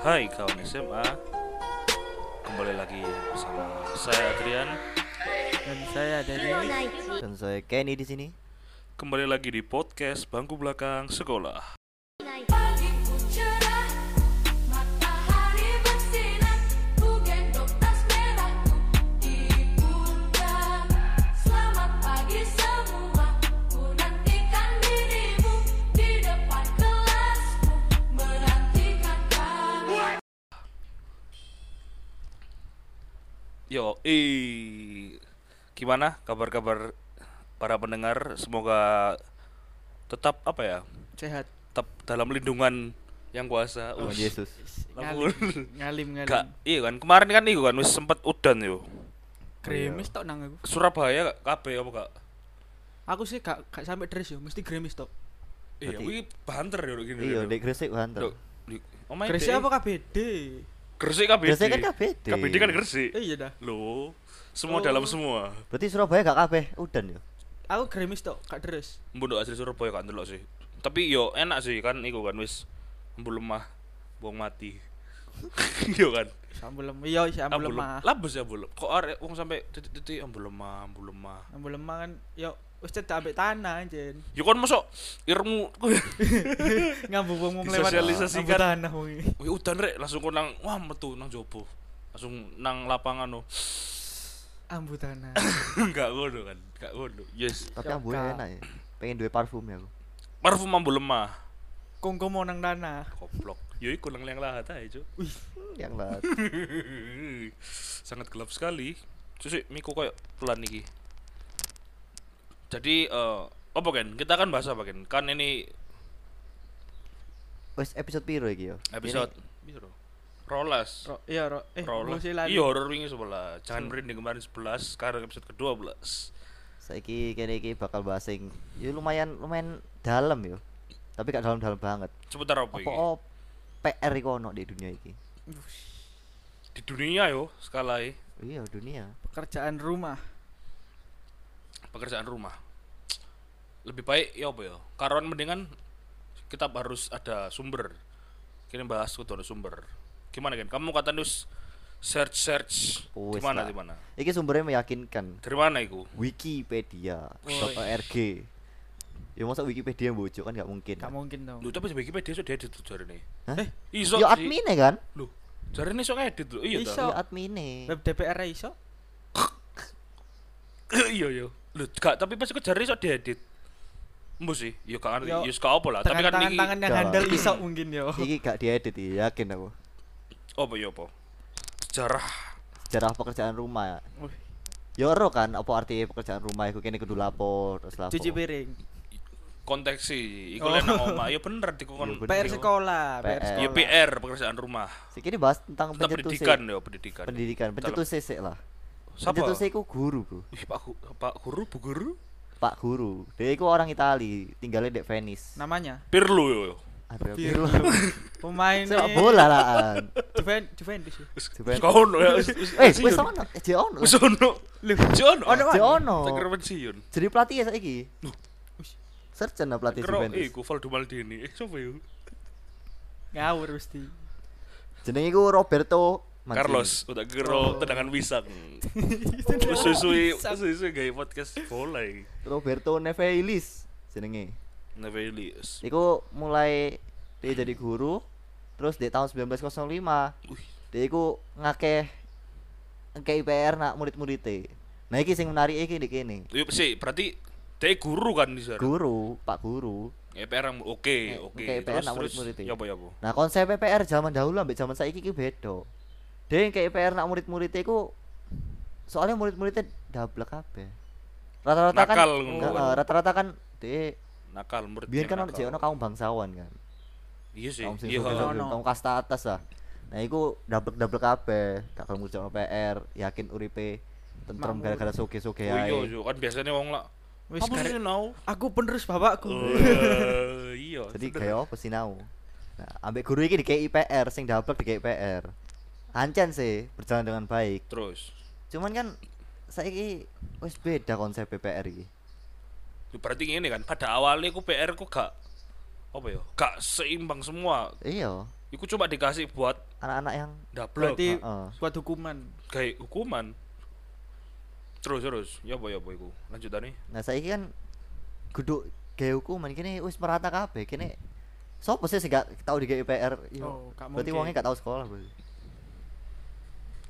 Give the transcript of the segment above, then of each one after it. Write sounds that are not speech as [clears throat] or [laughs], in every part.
Hai kawan SMA Kembali lagi bersama saya Adrian dan saya ada ini Dan saya Kenny di sini. Kembali lagi di podcast Bangku Belakang Sekolah Pagi ku cerah, matahari bersinar, ku gendong tas merahku di pundak. Selamat pagi semua, ku nantikan dirimu di depan kelasku, menantikan kamu. Yo, eh Gimana kabar-kabar para pendengar Semoga tetap apa ya sehat Tetap dalam lindungan yang kuasa Oh, Wih, Yesus. lamun. ngalim ngalim Gak, iya kan kemarin kan itu kan wis sempet udan yo gremis tok nang aku Surabaya kabeh apa gak? aku sih gak gak sampai dress yo mesti gremis tok Iya, Berarti- wih banter yo gini. Iya, dek Gresik Dok, banter. di- Oh my Gresik day. apa KBD Gresik KBD. Gresik kan KBD. KBD kan Gresik. eh iya dah Loh, semua Oh. dalam semua. Berarti Surabaya gak kabeh udan ya. aku gremis tok gak dress Mbok asli Surabaya kan delok sih. Tapi yo enak sih kan iku kan wis mbok lemah, wong mati. [laughs] Yo kan. sambel lemah iya sih sambel Ambu lem- lemah Labes ya mbok. Kok arek wong sampe titik-titik ambul lemah, ambul lemah. sambel lemah kan yo wis cedak ambek tanah anjen Yo kon mosok irmu ya? ngambu wong wong lewat Disosialisasikan. ngambu tanah wong iki. [laughs] Wih udan rek langsung kon nang wah metu nang jopo. Langsung nang [laughs] lapangan no. ambu tanah Enggak ngono kan. Enggak ngono. Yes. Tapi Ya, ambu Kak. enak ya. Pengen duwe parfum ya aku. Parfum ambul lemah. kongko mau nang tanah Koplok. Yo iku nang liang lahat ae, Cuk. Hmm, Yang lah. [laughs] sangat gelap sekali susi miku kayak pelan iki jadi eh apa kan kita kan bahas apa kan kan ini Wes episode piro iki ya? episode Biro. rolas Ro- iya ro eh rolas gua sih lali. iya horror wingi sebelah jangan merinding kemarin 11 sekarang episode ke-12 Saiki kene iki bakal bahas sing ya lumayan lumayan dalam ya. Tapi gak dalam-dalam banget. seputar apa Apa iki o PR iku ono di dunia iki? Wush, di dunia yo skala e. Iya, dunia. pekerjaan rumah pekerjaan rumah lebih baik ya apa ya karuan mendingan kita harus ada sumber kita bahas kudu ada sumber gimana kan kamu kata nus search search di Wes mana lah. di mana Iki sumbernya meyakinkan. dari mana itu Wikipedia.org. Ya masa Wikipedia bocok kan gak mungkin. gak mungkin dong Iya. lu tapi Wikipedia sudah edit tuh jari ini Hah? iso Yo sih. admine kan? lu jari ini sok edit lu iya Iso. toh? Yo admine. web DPR -nya iso [coughs] iya iya lu gak tapi pas aku jari sok diedit Mbak sih, yo gak ngerti, Yo, yo gak apa lah. Tapi kan Iya, tangan ini, tangan yang Gak. handal iso mungkin Oh. yo Iki gak diedit ya, yakin aku. apa ya apa? Sejarah Sejarah pekerjaan rumah ya. Wih, Ya ero kan apa arti pekerjaan rumah iku kene kudu lapor, terus lapor. cuci piring konteks sih, iku Oh. lek Iya, [laughs] nang omah, yo bener dikon. Yo bener. PR PR. sekolah, PR Ya sekolah. PR pekerjaan rumah. Sikini bahas tentang Tentang Iya, pencetus pendidikan ya, pendidikan. Pendidikan, pencetus sik lah. Siapa? Pencetus sik iku guru, Bro. Ih, Pak Gu- Pak Guru, Bu Guru. Pak guru. Dia iku orang Itali, tinggalnya di Venice. Nah, Namanya Pirlo yo. yo. Ada iya. Pirlo. [laughs] Pemain Sepak nih, bola lahan. Juven- Juventus. ya? Juventus. Wis kono [laughs] ya. wis- Eh, pensiun. wis ono, eh, je ono. Wis ono. Loh, Wis ono. ono, Je ono. Tak kira pensiun. Jadi pelatih ya saiki. Wih, Search ana pelatih Kira eh, Juventus. iku Valdo Maldini. Eh, sapa yo? ngawur mesti. Jenenge iku Roberto Mancini. Carlos, udah Oh. kira tendangan [laughs] pisang. [laughs] Susui, susui gawe podcast bola iki. Roberto Nevelis jenenge. Nevelis. Iku mulai dia jadi guru terus di tahun 1905 Wih, dia iku ngakeh ngakeh IPR nak murid-muridnya nah iki sing menarik iki di kene Iya, sih, berarti dia guru kan di sana. guru pak guru EPR yang- oke, Eh, oke. oke, EPR Terus nak terus murid-murid. ya apa ya apa? nah konsep IPR zaman dahulu ambek zaman saiki iki beda dia yang IPR nak murid-muridnya iku soalnya murid-muridnya dablek kabeh rata-rata kan Nakal ngono Heeh, kan. rata-rata kan dia Nakal murid. biyen yang kan ono nakal. jek ono kaum bangsawan kan Iya sih. kaum sing Iya. sugih-sugih. sobir-sobir, Ono. kaum kasta atas lah nah iku dablek-dablek kabeh gak gelem ngerjakan PR yakin uripe tentrem Makmur. gara-gara Oh soge-soge iya, ae iya, kan biasanya wong lah. Wis Apa sih karek- nau? Aku penerus bapakku. Eh, Iya. [laughs] jadi bener. kayak apa sih nau nah ambek guru iki di PR sing dablek di PR ancen sih berjalan dengan baik terus cuman kan saiki wis beda konsep PPR iki. Ya, berarti ini kan pada awalnya ku PR ku gak apa ya gak seimbang semua Iya, Iku cuma dikasih buat anak-anak yang dablok [laughs] Berarti Heeh. buat hukuman. kayak hukuman terus terus ya apa ya apa iku lanjutannya nah saiki kan guduk gaya hukuman kene wis merata kabeh kene sopo sih sing gak tau di GPR yo. Oh, gak Iya. Berarti mungkin. wongnya gak tau sekolah, Bro.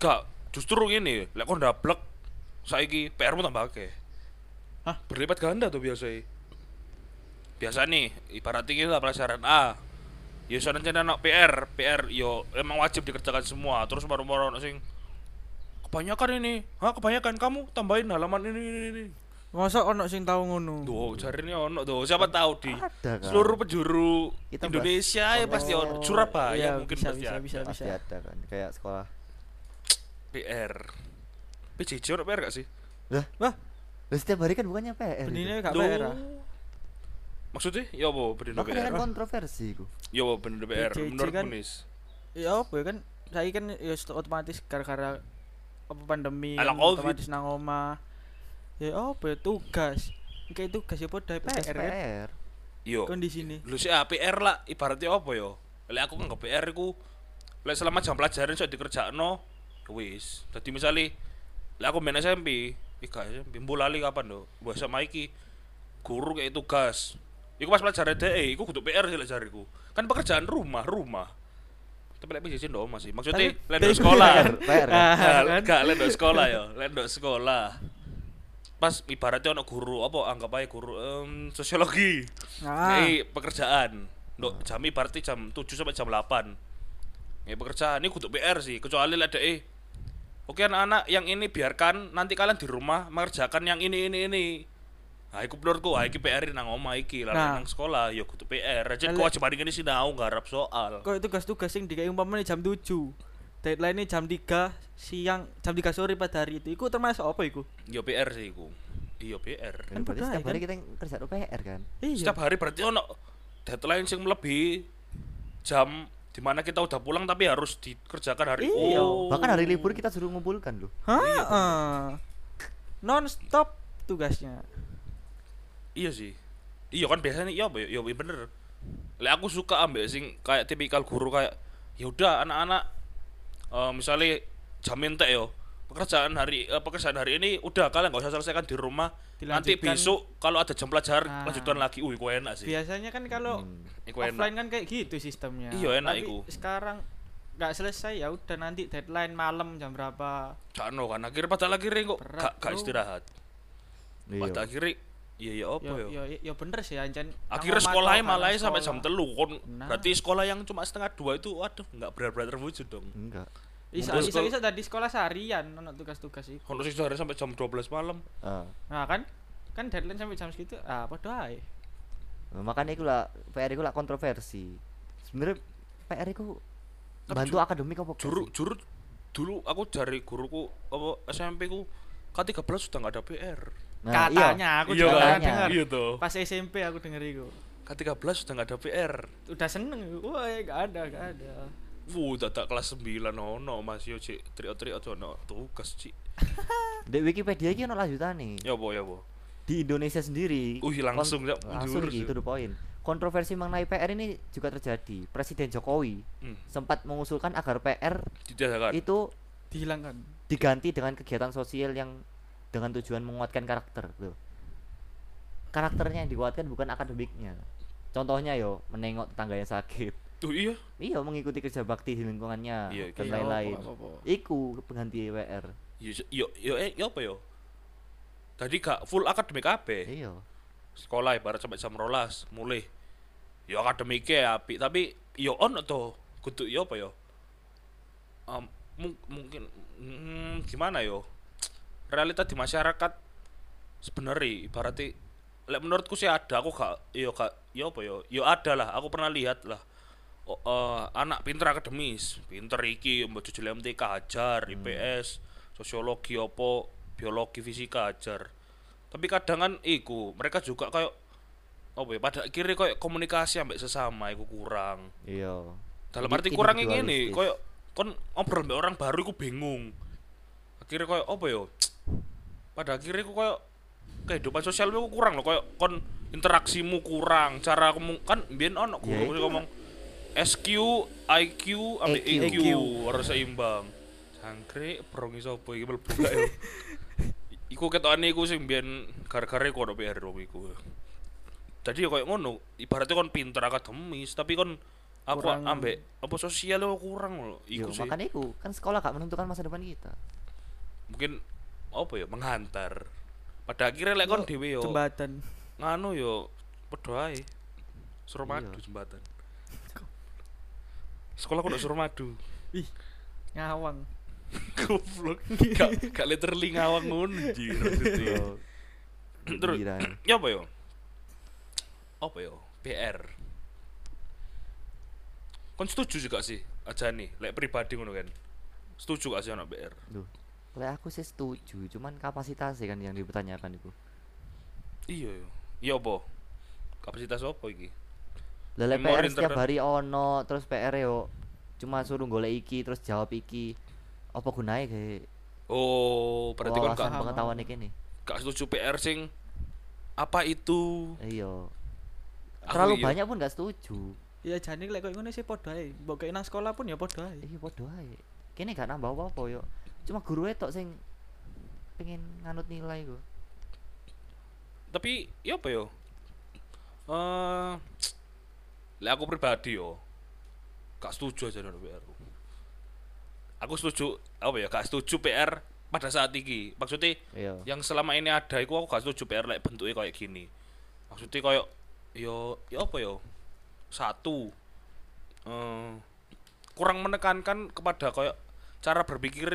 gak justru ini lek kon dablek saiki PR mu tambah akeh Hah? berlipat ganda tuh biasa biasa nih ibarat tinggi lah pelajaran A ya soalnya rencana anak PR PR yo ya emang wajib dikerjakan semua terus baru-baru anak sing kebanyakan ini Hah kebanyakan kamu tambahin halaman ini ini ini Masa ono sing tahu ngono? Duh, cari ini ono tuh. Siapa tahu di Ada kan? seluruh penjuru Kita bahas- Indonesia ya pasti ono. Oh, Surabaya iya, mungkin bisa, pasti bisa, ada. bisa, Pasti bisa. ada kan kayak sekolah. PR. PJJ ono PR gak sih? Lah, Wah, lah setiap hari kan bukannya PR. benine itu. gak Duh. PR. ah. Maksudnya ya apa bener Makanya PR? kan kontroversi iku. Ya apa bener PR PJJ menurut kan- Munis. Ya apa ya kan saya kan ya set- otomatis gara-gara apa pandemi Ala kan Covid. otomatis nang omah. Ya apa ya tugas. Kayak tugas ya podo Tugas PR kan PR. Yo. kondisi ini. Lu sih ah, PR lah ibaratnya apa yo? Lek aku kan nggak PR ku lek selama jam pelajaran sok dikerjakno wis. Dadi misale lek aku main SMP, ika SMP mbulali kapan do? Mbok sama iki guru kayak tugas. Iku pas pelajaran DE, iku kudu PR sih lek jariku. Kan pekerjaan rumah, rumah. Tapi lek PJJ ndo masih. Maksudnya Tapi- lek ndok tapi [laughs] sekolah. PR, PR. ya. Nah, Ah. kan? Gak lek ndok sekolah yo, lek ndok sekolah. Pas ibaratnya ono guru apa anggap aja guru em, sosiologi. Nah, Ini pekerjaan. Ndok jam berarti jam 7 sampai jam 8. Ini pekerjaan ini kudu PR sih, kecuali lah deh. Oke anak-anak, yang ini biarkan nanti kalian di rumah mengerjakan yang ini ini ini. Nah, iku menurutku, ah, iki PR ini nang omah iki, lalu Nah. nang sekolah, ya kudu PR. Jadi Lele- kewajiban ini sih nau garap soal. kok tugas-tugas sing dikai umpamane jam 7. Deadline-nya jam 3 siang, jam 3 sore pada hari itu. Iku termasuk apa iku? Yo PR Ya sih iku. Iya PR. Ini berarti padahal setiap hari kan- kita kerja PR kan. Iya. Setiap hari berarti ono deadline sing melebihi jam dimana kita udah pulang tapi harus dikerjakan hari Iya. Oh. Bahkan hari libur kita suruh ngumpulkan loh. Iya. Hah? Non stop tugasnya. Iya sih. Iya kan biasanya iya apa ya iya bener. Lek aku suka ambek sing kayak tipikal guru kayak ya udah anak-anak eh misalnya jamin teh yo pekerjaan hari eh, pekerjaan hari ini udah kalian nggak usah selesaikan di rumah nanti Dilanjutkan. besok kalau ada jam pelajaran Ah. lanjutan lagi wih gue enak sih Biasanya kan kalau Hmm. Hmm, Iku offline enak kan kayak gitu sistemnya. Iya, enak Tapi iku. Sekarang nggak selesai ya udah nanti deadline malam jam berapa. Cano kan akhirnya pada akhirnya kok Berat, gak, gak bro. istirahat pada Iya. akhirnya iya iya apa Yo ya yo yo bener sih anjen. akhirnya sekolahnya malah sampai jam telu kon Nah. berarti sekolah yang cuma setengah dua itu waduh nggak benar-benar terwujud dong Enggak. Isa Ngumpul isa sekol- isa tadi sekolah seharian ono tugas-tugas itu. kalau sih sehari sampai jam 12 malam Ah. Nah kan kan deadline sampai jam segitu ah podo ae. Nah, makanya iku lah PR iku lah kontroversi. Sebenarnya PR iku Tapi bantu ju- akademik apa gak juru sih? juru dulu aku cari guruku apa SMP ku K13 sudah nggak ada PR Nah, iya. Katanya aku Iya juga kan? pernah dengar. iya tuh Pas SMP aku denger iku. K13 sudah nggak ada PR Udah seneng, iku. wah nggak ada, nggak ada. Wuh, dadak kelas 9 ono masih yo cik trio-trio aja ono tugas cik. Di Wikipedia iki ono lanjutane. Ya apa ya apa. Di Indonesia sendiri. Wih, langsung, kon- Cok. langsung Jurus, gitu Cok. the point. Kontroversi mengenai PR ini juga terjadi. Presiden Jokowi Hmm, sempat mengusulkan agar PR ditiadakan. itu Dihilangkan. diganti dengan kegiatan sosial yang dengan tujuan menguatkan karakter loh. Karakternya yang dikuatkan bukan akademiknya. Contohnya yo menengok tetangga yang sakit. Tuh iya. Iya mengikuti kerja bakti di lingkungannya Iya, dan iya, lain-lain. apa-apa. Iku pengganti WR. Yo yo yo, eh, yo apa yo? Tadi gak full akademik kabeh. Iya. sekolah ibarat sampai jam rolas mulai yo akademike api tapi yo ono to kudu yo apa yo Em, mung- mungkin mm, gimana yo realita di masyarakat sebenarnya ibaratnya lek menurutku sih ada aku gak yo gak yo apa yo yo ada lah aku pernah lihat lah O- eh, anak pinter akademis pinter iki mbok jujul MTK ajar IPS sosiologi opo biologi fisika ajar tapi kadang kan iku mereka juga kayak apa ya pada akhirnya kayak komunikasi ambek sesama iku kurang Iya. dalam arti Jadi kurang ini nih individualistis. koyo kon ngobrol mbek orang baru iku bingung akhirnya koyo apa yo pada akhirnya ku kayak kehidupan sosialmu ku kurang loh kayak kon interaksimu kurang cara kamu kan biar ono ku Ya, aku sih ngomong SQ IQ ambil EQ. EQ harus E seimbang sangkre perongi sopo iki mlebu gak yo iku ketokane iku sing biyen gara-gara iku ono PR dong iku jadi ya kayak ngono ibaratnya kon pinter akademis tapi kon apa Kurang- ambek apa sosial lo kurang loh iku Yo, sih makanya iku kan sekolah gak menentukan masa depan kita. mungkin apa ya menghantar pada akhirnya lek kon dhewe yo jembatan nganu yo padha ae suruh Iya. madu jembatan sekolah aku udah suruh madu ih ngawang goblok gak gak literally ngawang ngono anjir maksudnya. Yo, terus gila. [clears throat] ya apa yo apa yo PR kon setuju juga sih aja nih lek pribadi ngono kan setuju gak sih anak PR Duh. Oleh aku sih setuju, cuman kapasitasnya kan yang dipertanyakan itu. iya yo iya apa kapasitas apa iki Lele Memori PR setiap internet. hari ono, terus PR yo cuma suruh golek iki, terus jawab iki. Apa gunanya kayak oh berarti kon gak wawasan paham. pengetahuan iki nih? gak setuju PR sing apa itu Iya. Aku Terlalu iya. banyak pun gak setuju. ya jane lek koyo ngono sih padha ae mbok kei nang sekolah pun ya padha ae Iya podo ae. Kene gak nambah apa-apa yo. Cuma guru e tok sing pengen nganut nilai kok. tapi ya apa yo eh lah aku pribadi yo gak setuju aja dengan PR aku setuju apa ya gak setuju PR pada saat ini maksudnya Iya. yang selama ini ada iku aku gak setuju PR like bentuknya kayak gini maksudnya kayak yo yo apa yo satu eh kurang menekankan kepada kayak cara berpikir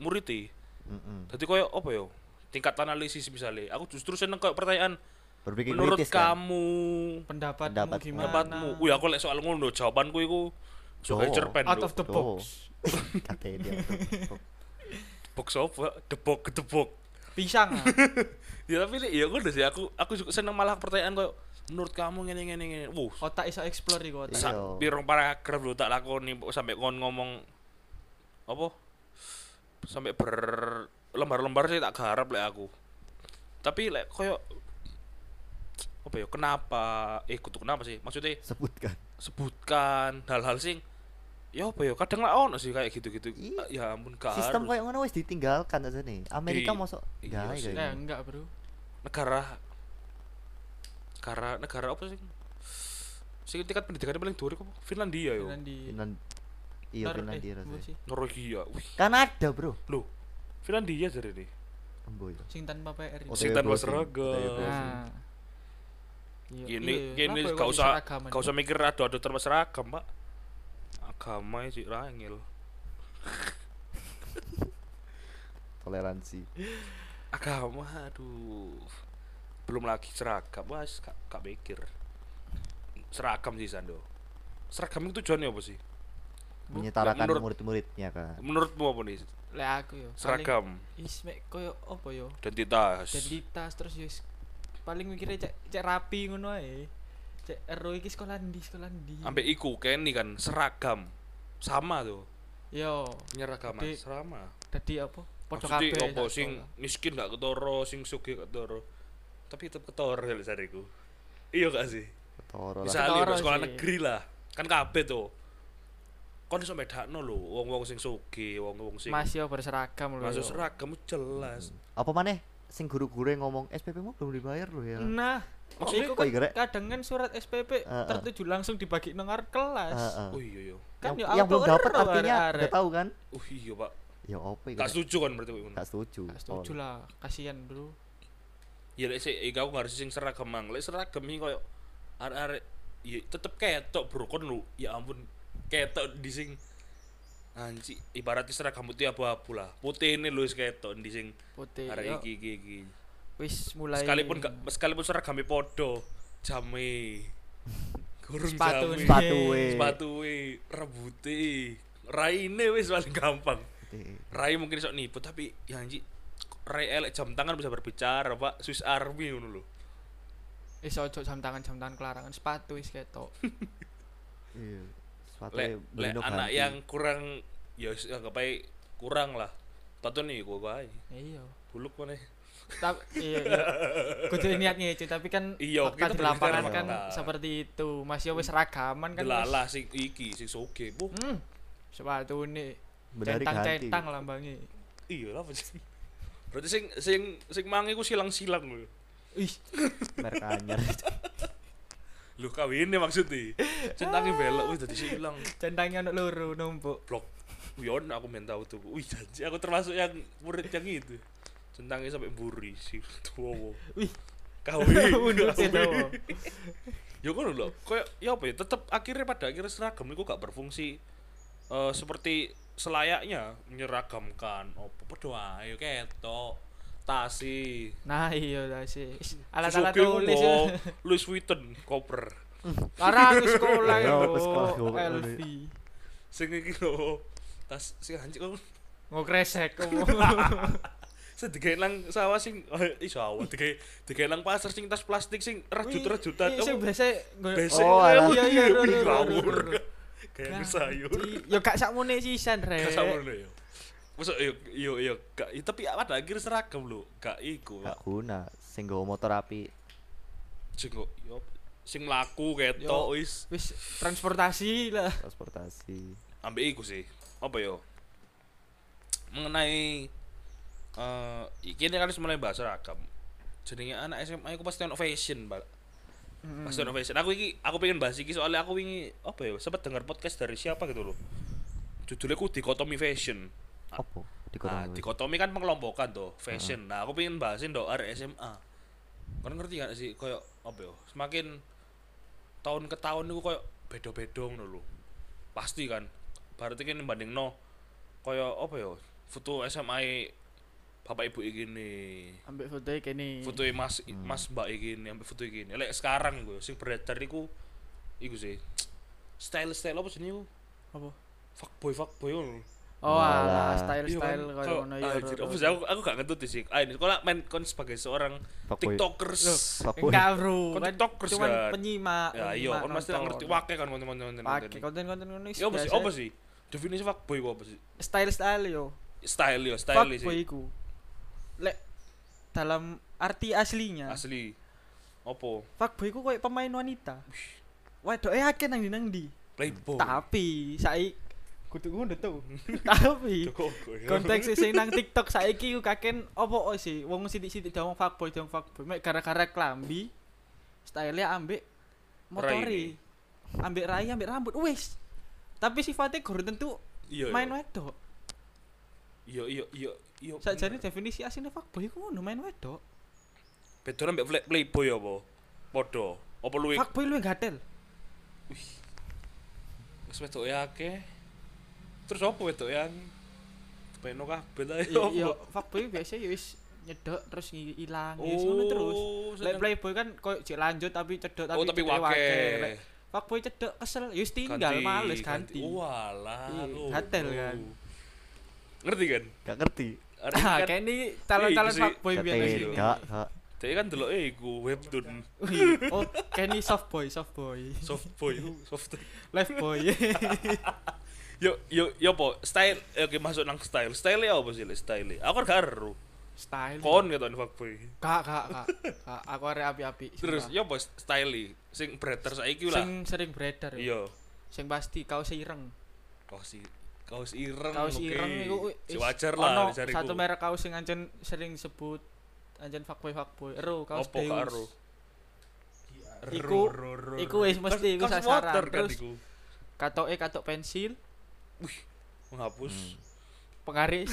murid e. i. Mm-mm. Jadi koyo apa yo? Tingkat analisis misalnya. Aku justru seneng koyo pertanyaan Berpikir menurut kritis kan? kamu pendapatmu Pendapat. gimana pendapatmu. Wih, aku lek soal ngono jawabanku iku sebagai Yo. cerpen out lho. of the Tuh. [laughs] box Katanya dia. tuh. box apa? Debok gedebok. pisang ah. Ya tapi lek ya ngono sih aku aku suka seneng malah pertanyaan koyo menurut kamu ngene ngene ngene. Wuh, otak iso explore iku Iya. otak sak pirong paragraf lho tak lakoni mbok sampe kon ngomong apa? Sampai ber lembar-lembar sih tak garap lek aku. Tapi lek koyo apa ya kenapa eh kutu kenapa sih maksudnya [laughs] Sebutkan. sebutkan hal-hal sing ya apa ya kadang lah ono sih kayak gitu-gitu Iya. ya ampun gak Sistem harus. koyo ngono wis ditinggalkan aja nih. Amerika Iya. mosok Iya ya sih. eh kayak. enggak bro negara negara negara apa sih sing tingkat pendidikannya paling dhuwur apa Finlandia yo Finland di Finland Iya Nor- eh, Finlandia apa rasanya. sih? Norwegia wih Kanada, Bro. lho Finlandia jadi nih Embo ya. sing tanpa PR ini. Otak Sing ya, tanpa browsing. seragam. Otak ya, browsing. Nah. Iya, ini iya. ini Ah. Kenapa ya gak kok usah seragaman? gak usah mikir adu-adu termas seragam pak agama ya, sih rangil Toleransi. agama aduh belum lagi seragam mas gak, gak mikir seragam sih Sando seragam itu tujuannya apa sih Menyetarakan menurut- murid-muridnya kan. menurutmu apa nih Lek aku yo. paling seragam Ismek koyo apa yo? identitas Identitas terus yo s- paling mikirnya cek cek rapi ngono ae. Cek ero iki sekolah ndi sekolah ndi. sampai iku Kenny kan seragam sama tuh Yo, penyeragaman Jadi- serama tadi apa? Podo maksudnya kabeh. apa sak sing sekolah. miskin gak ketoro sing sugih gak ketoro tapi tetep ketoro kalau sariku iya gak sih Toro lah. misalnya Ketoro di sekolah sih. negeri lah kan kabeh tuh kon iso medakno lho wong-wong sing sugih wong-wong sing Mas iya. yo berseragam lho. masuk yo. seragam jelas Apa maneh sing guru-guru yang ngomong "Eh, SPP-mu belum dibayar loh ya. Nah, Maksudnya iku kok Ah, kan gerek? kadang kan surat SPP Heeh. tertuju langsung dibagi nengar kelas. Heeh. oh iya iya Kan yo Ah, yang, yang auto belum dapat ero artinya arek-arek. udah tahu kan? oh iya pak Ya opo iki? gak setuju kan berarti kowe ngono Gak setuju. Gak setuju Oh. lah, kasihan bro. ya lek sik iku aku harus sing seragam mang lek seragam iki koyo arek-arek ya tetep ketok bro kon lu ya ampun ketok di sing anji ibaratnya seragam putih abu-abu lah putih ini lu wis ketok di sing Putih. yo. arek iki iki iki Wis mulai sekalipun gak sekalipun seragamnya podo jame kurung Sepatu jame nih. Sepatu Iya. we. sepatue rebuti raine wis paling gampang Eh, Rai mungkin sok nipu tapi ya anji Rai elek jam tangan bisa berbicara pak Swiss Army ngono lho Wis ojo jam tangan jam tangan kelarangan sepatu wis [laughs] ketok. Iya. Sepatu lek lek anak yang kurang ya wis, anggap ae kurang lah Tato nih gua bae. Iya. Buluk mana? Tapi iya. iya. Kudu niat ngece, tapi kan Iya, fakta kita di lapangan berbicara kan fakta. seperti itu. Masih wis ragaman kan. wis. Delala sing iki sing soge. Bu, Hmm. Sepatu ini Benarik hati. [laughs] centang-centang lambangnya. iya lah pancen. Berarti sing sing sing mangi ku silang-silang lho. Ih, Merek anyar. [laughs] Lho kawine [laughs] maksudnya. Centangi belok wis dadi silang. centangnya anak loro [laughs] numpuk. blok Wion aku main tahu tuh wih janji aku termasuk yang murid yang itu centangnya sampai buri si [laughs] tuwo Wih. [laughs] kawin Undur sih kawin ya kan lho kayak ya apa ya tetap akhirnya pada akhirnya seragam itu gak berfungsi eh, seperti selayaknya menyeragamkan apa berdoa ayo ketok tasi Nah, iya lah sih. Is, Alat-alat Suzuki ku tulis. bawa Louis Vuitton koper Ora aku [laughs] sekolah Ya, yo. aku sekolah, yo. LV. sing iki lho tas sing anjir kok Ngokresek kamu. [laughs] Sedikit lang sawah sing oh, iso awak dikei dikei lang pasar sing tas plastik sing rejut-rejutan Iya, Sing biasa nggo- Besek Oh, alah. Iya, iya, iya, iya, iya, ngawur. iya, iya. Kayak sayur. Ganti. Ya gak sakmene sisan, Rek. Kasawur lho yo. Masuk yo yo yo gak ya, tapi pada akhir seragam lho, gak iku. Gak guna. Sing nggawa motor api. Sing kok yo sing laku ketok wis Wis transportasi lah. Transportasi. ambek iku sih. Apa yo? Mengenai eh iki ini kan sebenarnya bahas seragam. Jenenge anak SMA aku pasti ono fashion, Pak. Mas Dono Fashion. Aku iki aku pengen bahas iki soalnya aku wingi apa ya sempat dengar podcast dari siapa gitu loh. Judulnya ku dikotomi fashion. Ah, Apa? Nah, Dikotomi. dikotomi kan pengelompokan tuh fashion. Nah, aku pengen bahasin do area SMA. Kan ngerti gak sih koyo apa ya? Semakin tahun ke tahun itu koyo beda-beda ngono lho. Pasti kan. Berarti kan banding no koyo apa ya? Foto SMA Bapak Ibu ini Ambek foto kene. foto mas mas mbak gini sampai foto gini lek sekarang gue sing beredar iku iku sih style style apa sih niku apa? fuckboy fuckboy ngono Oh, Alah. alah, style-style Iya kan? koyo Kau- ngono ah, ya. anjir, apa sih aku aku gak ngetut sih ah ini kalau main kon sebagai seorang Fuckboy. tiktokers Loh, Fuckboy. Enggak, Bro. Kon Kan tiktokers Cuman kan? penyimak. ya iya penyimak kon pasti lah nonton. ngerti wake kan konten konten konten Pakai konten-konten ngono ya apa sih apa sih definisi fuckboy ku apa sih Style-style yo. style ya style Fuckboy sih iku. Lek dalam arti aslinya, asli opo fuckboy iku koyo pemain wanita. Waduh, eh akeh nang di nang di. playboy Tapi saiki kudu ngono tuh. [laughs] Tapi Joko, Joko, ya. [laughs] konteks sing nang TikTok saiki ku kaken opo sih? Wong sithik-sithik dong fuckboy dong fuckboy mek gara-gara klambi style ambek motori. Ambek rai, ambek rambut. Wis. Tapi sifatnya gurun tentu iya main iya. wedok. iya iya iya iya Sajane definisi aslinya fuckboy iku ngono main wedok. Bedone mbek Play- Playboy apa? Padha. Apa luwih Fuckboy [laughs] luwih gatel. wis wedoke akeh. Terus apa wedoke yang peno kabeh ta Iya, ya iya, apa? fuckboy biasa ya wis nyedok terus ngi- ilang ya wis ngono terus. Oh, Lek seneng. playboy kan koyo jek lanjut tapi cedok tapi Oh, tapi cedeke wake. Lek fuckboy cedok kesel ya wis tinggal males ganti. Oh, Walah. Iya, lho. gatel kan. Ngerti kan? Gak ngerti. Arek [laughs] Ah, kan kayak ini calon-calon Iya, itu sih, fuckboy biasa iya. sih. Gatel. Gak. Gak. dhek kan deloke iku webtoon Wih, Oh, kayak ini soft boy, soft boy. [laughs] soft boy soft. Life boy. [laughs] Yo yo yo po style eh, oke masuk nang style. Style ya apa sih Lek? style? Aku kan gak ero. Style. Kon gitu, kan, keton fuckboy. Kak, kak, kak. Kak, aku arek api-api. Terus sumpah. yo po style sing breader saiki sing lah. sering beredar. ya. Iya. Sing pasti kaos ireng. kaos i- kaos ireng kaos Mm, oke. ireng itu Si wajar lah dicari satu merek kaos yang ancen sering sebut ancen fuckboy fuckboy ero kaos opo Deus karo Iku- iku wis mesti, iku sasaran. kan, Terus- katok e katok pensil menghapus Hmm, Hmm. iya. pengaris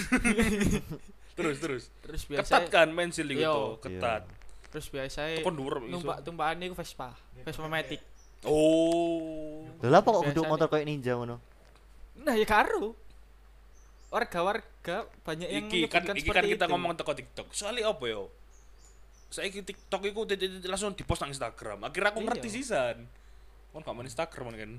terus terus terus ketat biasa kan pensil itu Iya. tuh ketat terus biasa Tekon dhuwur kok iso. Eh, numpak tumpakan iku Vespa Vespa Matic oh Lho lah apa kok Biasa bentuk nih. motor kayak ninja ngono? nah ya karo warga-warga banyak yang iki kan menyebutkan iki kan seperti kita itu. ngomong teko TikTok soalnya apa yo saya TikTok itu titik-titik langsung di post nang Instagram akhirnya aku Iya. ngerti sisan kon gak main Instagram kan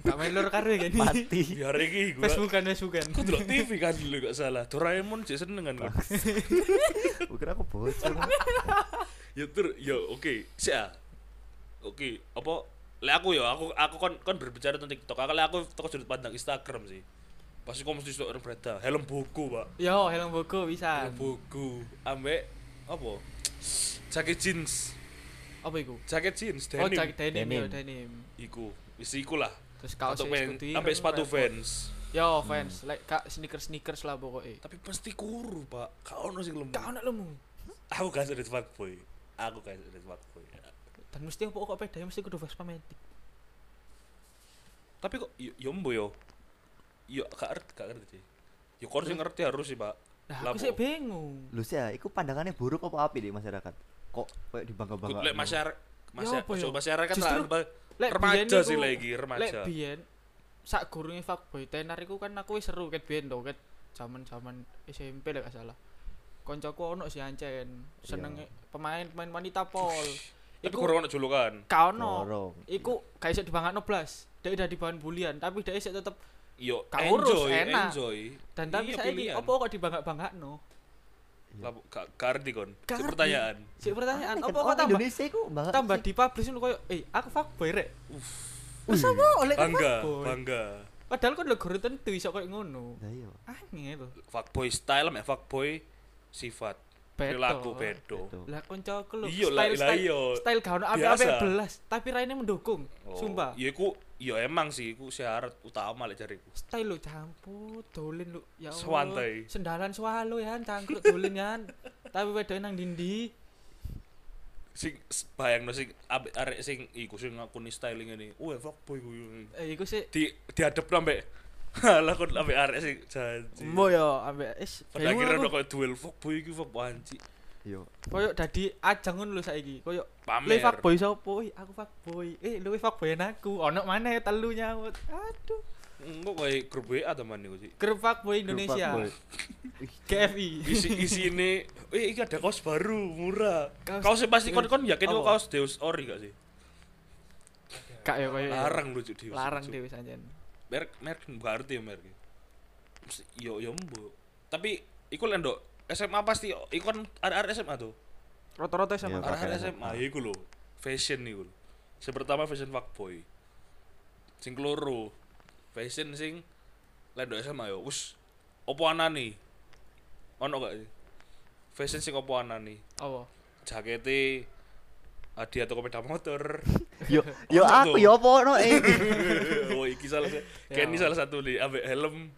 gak main lur karo ya ini Mati. biar iki gua Facebookan Facebookan aku dulu TV kan dulu gak salah Doraemon sih seneng kan [laughs] gua. Gue kira aku bocor. ya tur ya oke sih ah. Iya. oke kan, apa le aku ya aku aku kon kon berbicara tentang TikTok aku le aku toko sudut pandang Instagram sih Pasti kau mesti stok berita. Helm buku, Pak. Yo, helm bogo bisa. Helm buku. Ambek apa? Jaket jeans. Apa iku? Jaket jeans Oh, denim. jaket denim, Denim. yo denim. Iku. Wis iku lah. Terus kaos Atau pen, eksekutif, ambek sepatu repot. Vans. Yo, Hmm. fans, like kak sneakers-sneakers lah pokoknya. Tapi pasti kuru, Pak. Kau ono sing lemu. Kak ono lemu. Aku gak sedih fuckboy. Aku gak sedih fuckboy. Dan mesti opo kok pedanya mesti kudu Vespa Matic. Tapi kok yo yo mbo yo. Yo gak ngerti, gak ngerti. Yo kau sing ngerti harus sih, Pak. Nah, Lah, aku sih kok- bingung. Lu sih, ya, iku pandangannya buruk apa api di masyarakat? Kok kayak dibangga-bangga? Kutlek masyarakat Ya apa masyarakat yo? masyarakat Justru, lah, Pak. Lek kan Remaja biyen sih iku- lagi, remaja. Lek biyen sak gurunge fuckboy tenar iku kan aku wis seru ket biyen to ket zaman-zaman SMP lek gak salah. Koncoku ono sih ancen senenge pemain-pemain wanita pol. Tapi Iku kurang ono julukan. ka ono. Dorong. Iku gak iso dibangakno blas. Dek udah dibahan bulian, tapi dek isih tetep Yo Gak enjoy, urus, enak. enjoy. dan tapi Iya, saiki pilihan. opo kok dibangak-bangakno? Lah, gak gak ngerti kon. Si Gak ngerti. pertanyaan. Si pertanyaan, Aneh kan, opo kok orang tambah Indonesia iku banget tambah sih. di publish ngono koyo eh aku fuckboy rek. Wih, Oh, lek Bangga, fuckboy. bangga. Padahal kan lho guru tentu iso koyo ngono. Lah iya. Angel. Fuckboy style mek fuckboy sifat perilaku bedo. Bedo. Lah koncoku lho. Iya, lah- style, lah style, iya. Style gak ono ape-ape Biasa. belas, tapi raine mendukung. Oh, Sumpah. Ya iku ya emang sih iku syarat utama lek jariku. Style lho campur, dolen lho. Ya Allah. Sewantai. Sendalan swalo ya, [laughs] cangkruk dolen kan. tapi wedoke nang dindi. Sing s- bayangno sing ambek arek sing iku sing ngakuni styling ini. Wah, fuckboy ku. Eh iku sih Di diadep ambek [laughs] Halah kon ambek arek sing janji. Mbo yo ya, ambek is Pada akhirnya udah bingung aku. kayak duel fuckboy iki fuckboy anji. Yo. koyo dadi ajang ngono lho saiki. Koyo le Pamer. fuckboy sopo? Ih, Aku fuckboy. Eh luwe fuckboyan aku. Ono maneh telu nyaut. Aduh. Enggak kayak grup WA teman iku sih. Grup fuckboy Indonesia. Gerobak, boy. KFI. isi isi ini eh ini ada kaos baru murah [laughs] kaos Kaos- pasti kon kon yakin kok Apa? kaos Deus Ori gak sih Kak yo ya, koyo. larang lucu Deus Larang Deus dhewe sanjen. merek merek gak ngerti ya merek Mesti- yo yo mbo tapi iku lendo SMA pasti iku kan ada ada SMA tuh Rata-rata Iya, sama ada Pakai ada SMA ya iku lho fashion iku lho sing pertama fashion fuckboy sing keloro fashion sing lendo SMA yo us opo anani ono gak sih fashion sing opo anani apa? jakete hadiah toko sepeda motor. [laughs] Yo, yo Ono aku tuh. yo apa ono [laughs] eh. oh, iki salah satu. Ya. Kenny salah satu nih, ambek helm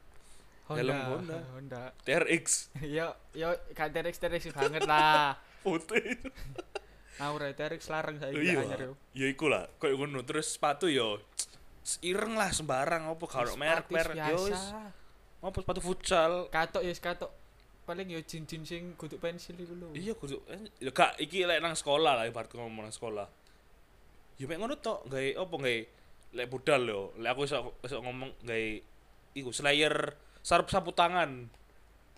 Helm Honda. Honda. [laughs] TRX Yo yo gak TRX TRX banget lah. putih. Aku rek TRX larang saya Iya. anyar yo. Ya iku lah, koyo ngono terus sepatu yo ireng lah sembarang opo karo Sepatu merek merek yo biasa. wis. Opo sepatu futsal. Katok yo katok. Paling yo jin-jin sing kutuk pensil iku lho. Iya kudu eh, ya gak iki lek nang sekolah lah ibarat ngomong nang sekolah. Ya mek ngono tok, gawe opo gawe lek budal yo. Lek aku iso iso ngomong gawe iku slayer sarap sapu tangan.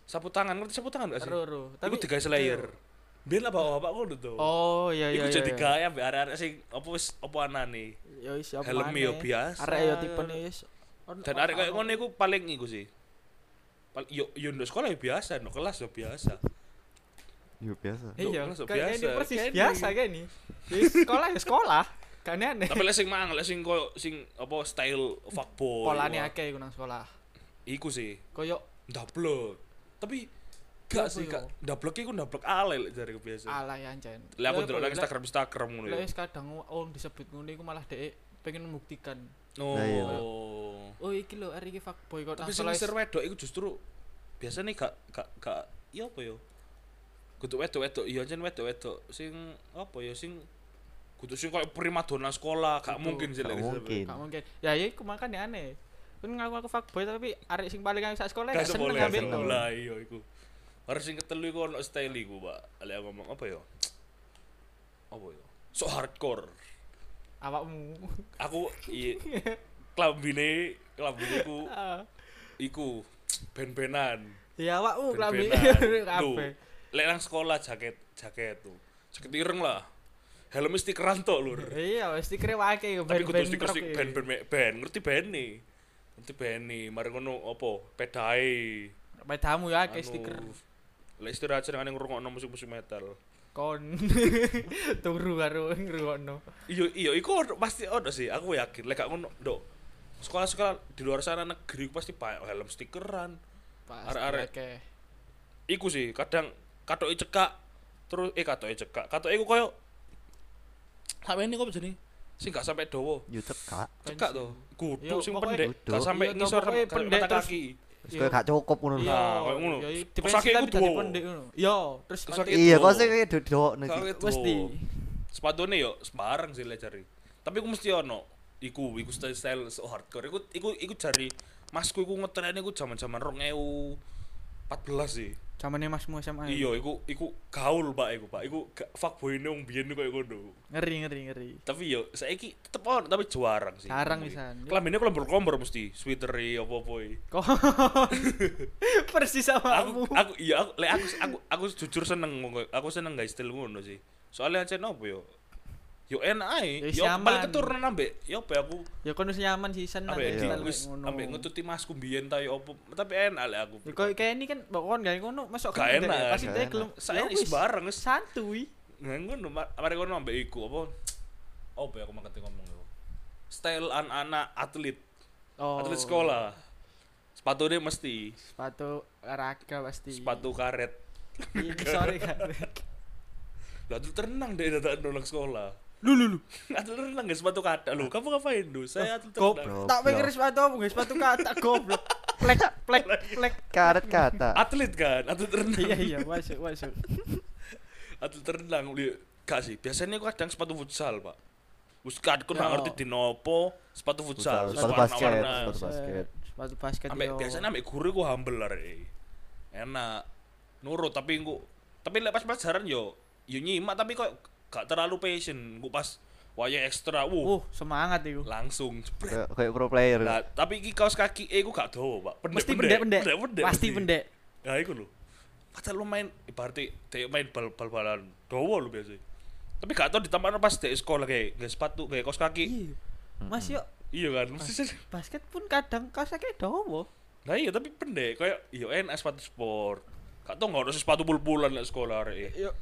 Sapu tangan, ngerti sapu tangan gak sih? Ro ro. Tapi iku digawe slayer. Biar lah bawa bapak ngono tuh. Oh iya iya. Iku iya, jadi iya. gawe ambek arek-arek sing apa wis apa anane. Yo wis apa Helm yo maneh. biasa. Arek yo tipe wis. Dan arek kayak ngono iku paling iku sih. Paling yo yo ndek sekolah yo biasa, no kelas yo biasa. Yo biasa. Yo, Iya, langsung kayak ini biasa. persis Kayak ini. biasa kayak ini. Di sekolah ya sekolah. Kan aneh. Tapi lek sing mang, lek sing koyo sing apa style fuckboy. Polane wah, akeh iku nang sekolah. Iku sih. Koyok Ndablek. Tapi gak Apa sih yo? gak ndablek iku ndablek ale lek jare biasa. alay ya, anjen. Lek Iya. aku Lek ndelok nang koyok- Instagram Instagram ngono. Lek ya. wis kadang wong disebut ngono iku malah dhek pengen membuktikan. Lah, iya. Oh. Oh iki lho arek iki fuckboy kok Tapi nang sing sekolah ngisir wis- wedok iku justru biasanya gak gak gak iya apa ya? Kudu wedok-wedok, iya jan wedok-wedok sing apa ya sing kudu sing koyo primadona sekolah, gak Betul, mungkin sih gak lek ngisir mungkin. wedok. gak mungkin. Ya ya iku makane aneh. Kan ngaku aku fuckboy tapi arek sing paling aku sak sekolah Gak gak seneng boleh, ambek gak iku. boleh iya oh, iku. Harus sing ketelu iku ono style iku, Pak. Lek aku ngomong apa ya? Apa ya? oh. So hardcore. Awakmu. [laughs] Aku iya klambine klambine iku Ah. iku ben-benan. Ya awakmu klambi [laughs] Ben-benan. kabeh. Duh, Lek nang sekolah jaket jaket tuh. Jaket ireng lah. Helm stikeran tok lur. Iya, wis dikira akeh yo Tapi kudu ben-ben stiker stik ben ben me- ben ngerti ben nih. Ngerti ben nih, mari ngono opo? Pedae. Pedamu ya akeh anu, stiker Lek istirahat senengane ngrungokno musik-musik metal. kon. [laughs] Turu karo ngrungokno. Iya iya iku ono- pasti ono sih, aku yakin. Lek gak ngono, Nduk. sekolah-sekolah di luar sana negeri pasti banyak helm stikeran Arek-arek. Oke. iku sih kadang katoke cekak terus eh katoke cekak katoke iku koyo sampe ini kok jadi sih gak sampai dowo Yo cekak. cekak tuh Iya, kudu sing pokoknya pendek kudu. gak sampai Iya, toh, ngisor pokoknya kaki- pendek, mata terus- kaki Terus koyo gak cukup ngono. Iya. Nah, kayak ngono. Yoi, Terus dipensi akhirnya kan iku dadi duo. pendek ngono. Yo, terus Terus nanti akhirnya- Iya, kok Gitu. sih kayak dodok nih. Kaki itu. mesti. sepatune yo sembarang sih lek jari tapi aku mesti ono iku iku style style so hardcore iku iku iku jari masku iku ngetren iku zaman-zaman 2014 sih zamane Masmu SMA. iya iku iku gaul pak iku pak iku ga- fuckboy nang biyen koyo ngono Ngeri ngeri ngeri. tapi yo saiki tetep ono tapi jarang sih Jarang Kuwi. pisan. kelambine klombor-klombor mesti sweateri apa-apa iki. Kok [laughs] persis sama aku aku. aku iya aku lek aku aku aku jujur seneng ngono- aku seneng guys style ngono sih soalnya aja nopo yo yo enak ae Wis yo nyaman. paling keturunan ambek yo apa ya aku Ya kono wis nyaman sih seneng ambek iya. kita di- wis lek ngono. ambek ngetuti masku mbiyen ta yo opo tapi enak lek aku Ya, Kok kayak ini kan bakon gak ngono masuk Gak kan, enak, Pasti gak dia enak. gelem. saya Ya, is wis, bareng wis Santuy. Nah, ngono ma- mari ngono ambek iku apa apa ya aku makan ngomong yo style anak-anak atlet Oh. atlet sekolah sepatu dia mesti Sepatu olahraga pasti. sepatu karet Iya, Sorry kan. lah tuh tenang deh datang nolak sekolah [laughs] Lu lu lu. atlet renang gak sepatu kata lu kamu ngapain lu saya atlet renang Goblok. Tak pikir sepatu apa, guys, sepatu [laughs] kata goblok. Plek plek plek. Karet kata. atlet kan atlet renang Iya iya masuk masuk. atlet renang li- gak sih biasanya aku kadang sepatu futsal pak Uskat, aku Ya. nggak ngerti di nopo sepatu futsal, terus Sepatu basket, warna-warna. sepatu basket. Eh, Sepatu basket. Ambek yo. biasanya ambek guru ku humble lah rek. Enak. Nurut tapi engko tapi lek pas pelajaran yo yo nyimak tapi kok gak terlalu passion. Engko pas wayang ekstra wuh Uh, semangat iku. langsung jebret. Kayak kayak pro player. Nah, tapi iki kaos kaki eh ku gak dowo, Pak. Mesti pendek-pendek. Pasti pendek. Nah, iku lho. Padahal lu main ibaratnya dia main bal bal balan dowo lu biasa. Tapi gak tau ditambah pas di sekolah kayak nggak sepatu kayak kaos kaki. Iya. Mas yo Iya kan? Mesti basket pun kadang kaosnya dawa. Nah iya tapi pendek kayak iya enak sepatu sport. Gak tau nggak ada sepatu bul-bulan lah sekolah rek. Yo.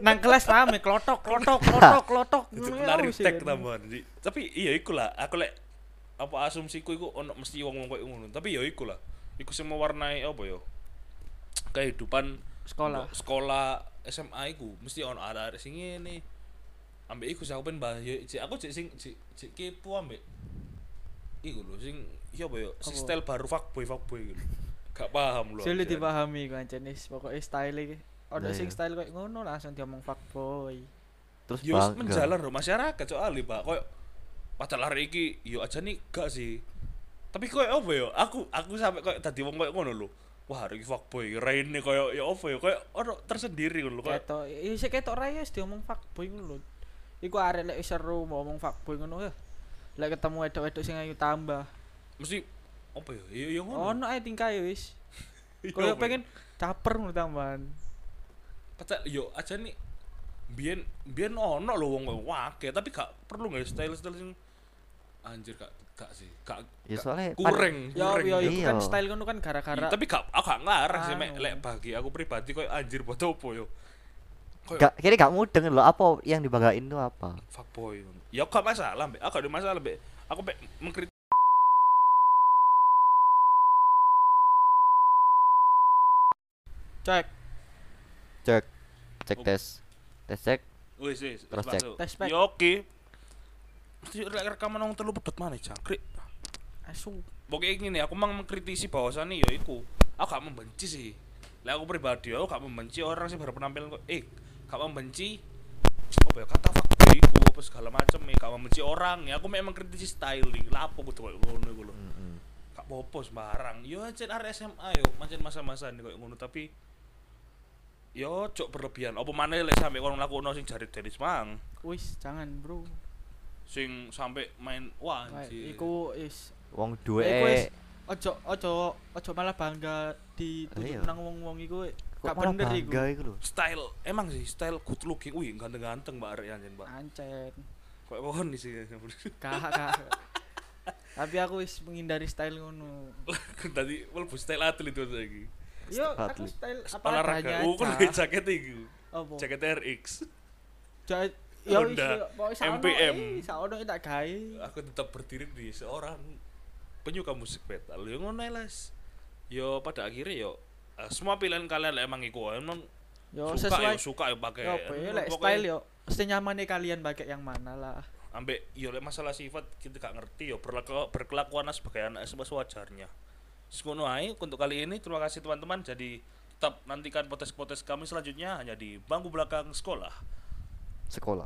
Nang [laughs] kelas rame klotok klotok klotok klotok. Itu Ngono menarik ya, sih. tek tambahan. Ji. Tapi iya iku lah aku lek apa asumsiku iku ono mesti wong-wong koyo ngono. Tapi ya iku lah. Iku semua warnai apa ya? Kehidupan Sekolah. mbok sekolah SMA iku mesti ono arek sing ngene. Ambek iku sih aku pengen bahas ya, Ji. aku jek sing jek jek kepo ambek iku lho sing iya apa ya? Si Apa? style baru fuckboy fuckboy iku. lho. Gak paham lho. aku, Sulit Jan. dipahami kan jenis pokoknya style iki. Ono Lah, sing iya. style koyo ngono langsung diomong fuckboy. Terus Yo wis bangga. menjalar loh masyarakat soalnya pak koyo padahal lari iki yo aja nih gak sih tapi koyo apa yo aku aku sampe koyo tadi wong koyo ngono lho wah hari iki fuckboy raine koyo yo apa yo koyo ono tersendiri ngono lho, koyo Ketok, iya sih ketok raya wis diomong fuckboy ngono lho. Iku arek lek wis seru mau ngomong fuckboy ngono ya. Lek ketemu wedok-wedok sing ayu tambah. mesti apa yo yo yo ngono Iya, Ono ae tingkah ya wis. Yo, apa yo. Koyo pengen caper ngono tambahan. padahal yo aja nih biyen biyen ono lho wong koyo wake tapi gak perlu nggak style style sing anjir gak gak sih gak Ya gak- soalnya pan- kurang Ya kurang ya Iya, iku kan Iya. style ngono kan gara-gara tapi gak aku gak ngarang sih mek Anu. lek bagi aku pribadi koyo anjir buat apa yo Koyo- Gak, kira gak mudeng loh apa yang dibanggain tuh apa? fuckboy ya gak masalah mbak aku gak ada masalah mbak aku mbak mengkritik cek Cek, cek Oh. tes, tes cek. wis wis Terus masuk. cek. Tes, Pak. ya oke mesti rek- rekaman orang terlalu pedot mana jangkrik asu. pokoknya gini aku mang mengkritisi bahwasannya ya iku aku gak membenci sih lah aku pribadi aku gak membenci orang sih berpenampilan kok eh gak membenci apa ya kata fuckboy iku apa segala macem ya gak membenci orang ya aku memang kritisi styling lah apa gitu kayak ngono iku lho Mm-mm. gak apa-apa sembarang yo ancen arek SMA yo mancen masa-masa nih kayak ngono tapi yo cok berlebihan apa maneh lek sampe kono lakono sing jari tenis mang Wis jangan, Bro. sing sampe main wah Kayak anjir Iku is Wong duwe Iku wis eh, ojo ojo ojo malah bangga Iya. ditutup nang wong-wong iku kok gak malah bener bangga iku. iku lho. style emang sih style good looking wih ganteng-ganteng mbak arek anjen mbak Ancen. kayak pohon sih [laughs] Kak, kak. Tapi aku wis menghindari style [laughs] ngono. tadi mlebu style atlet itu lagi Yo, Sepatu. aku style apa olahraga adanya. oh kan aja. kayak jaket iku Apa? jaket RX Ja- Ya wis, Honda pokoknya saono, MPM. eh, saono tak gawe. aku tetap berdiri di seorang penyuka musik metal yo ngono ae, las yo pada akhirnya yo eh, semua pilihan kalian lah emang iku emang Yo suka sesuai yo suka yo pakai yo apa ya, Emang lek pokoknya style yo senyamannya kalian pakai yang mana lah. ambek yo lek masalah sifat kita gak ngerti yo berlaku berkelakuan sebagai anak sebab sewajarnya sekono ae untuk kali ini terima kasih teman-teman jadi tetap nantikan potes-potes kami selanjutnya hanya di bangku belakang sekolah sekolah